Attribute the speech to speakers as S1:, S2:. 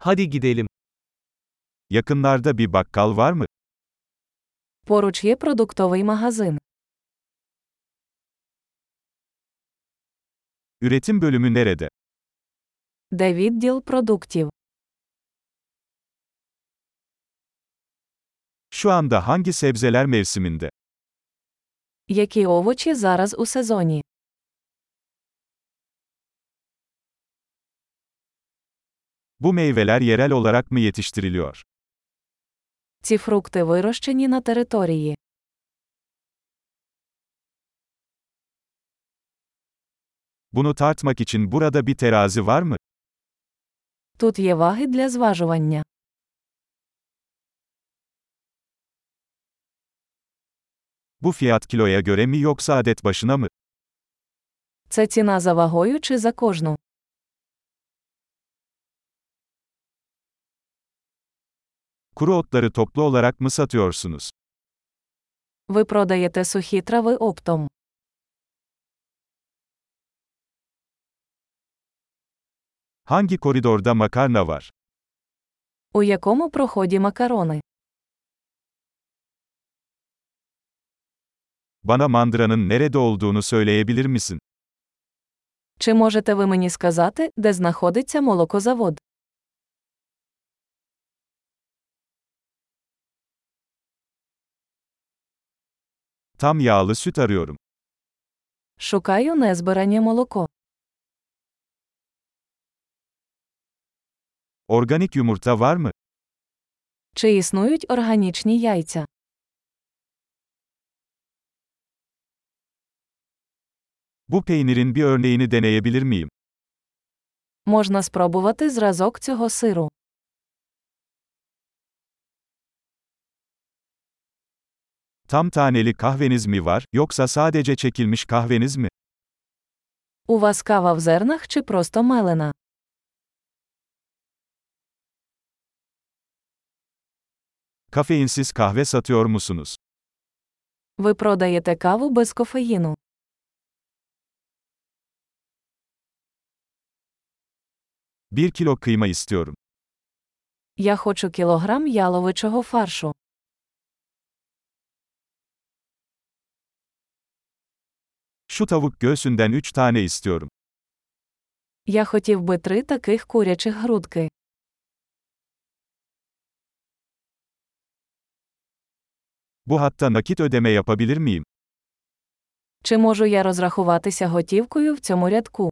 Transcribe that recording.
S1: Hadi gidelim. Yakınlarda bir bakkal var mı?
S2: Поруч є продуктовий магазин.
S1: Üretim bölümü nerede?
S2: Де відділ продуктів?
S1: Şu anda hangi sebzeler mevsiminde?
S2: Які овочі зараз у сезоні?
S1: Bu meyveler yerel olarak mı yetiştiriliyor?
S2: Ці фрукти вирощені на території.
S1: Bunu tartmak için burada bir terazi var mı?
S2: Тут є ваги для зважування.
S1: Bu fiyat kiloya göre mi yoksa adet başına mı?
S2: Це ціна за вагою чи за кожну.
S1: Kuru otları toplu olarak mı satıyorsunuz?
S2: Ви продаєте сухі трави оптом.
S1: Hangi koridorda makarna var?
S2: У якому проході макарони?
S1: Bana mandıranın nerede olduğunu söyleyebilir misin?
S2: Чи можете ви мені сказати, де знаходиться молокозавод?
S1: Tam yağlı süt arıyorum.
S2: Шукаю незбирання молоко.
S1: Organik yumurta var mı?
S2: Чи існують органічні яйця?
S1: Bu peynirin bir örneğini deneyebilir miyim?
S2: Можна спробувати зразок цього сиру.
S1: Tam taneli kahveniz mi var, yoksa sadece çekilmiş kahveniz mi?
S2: У вас кава в зернах чи просто мелена?
S1: Kafeinsiz kahve satıyor musunuz?
S2: Ви продаєте каву без кофеїну.
S1: Bir kilo kıyma istiyorum.
S2: Я хочу кілограм яловичого фаршу.
S1: Şu tavuk göğsünden 3 tane istiyorum.
S2: Я хотів би три таких курячих грудки.
S1: Bu hatta nakit ödeme yapabilir miyim?
S2: Чи можу я розрахуватися готівкою в цьому рядку?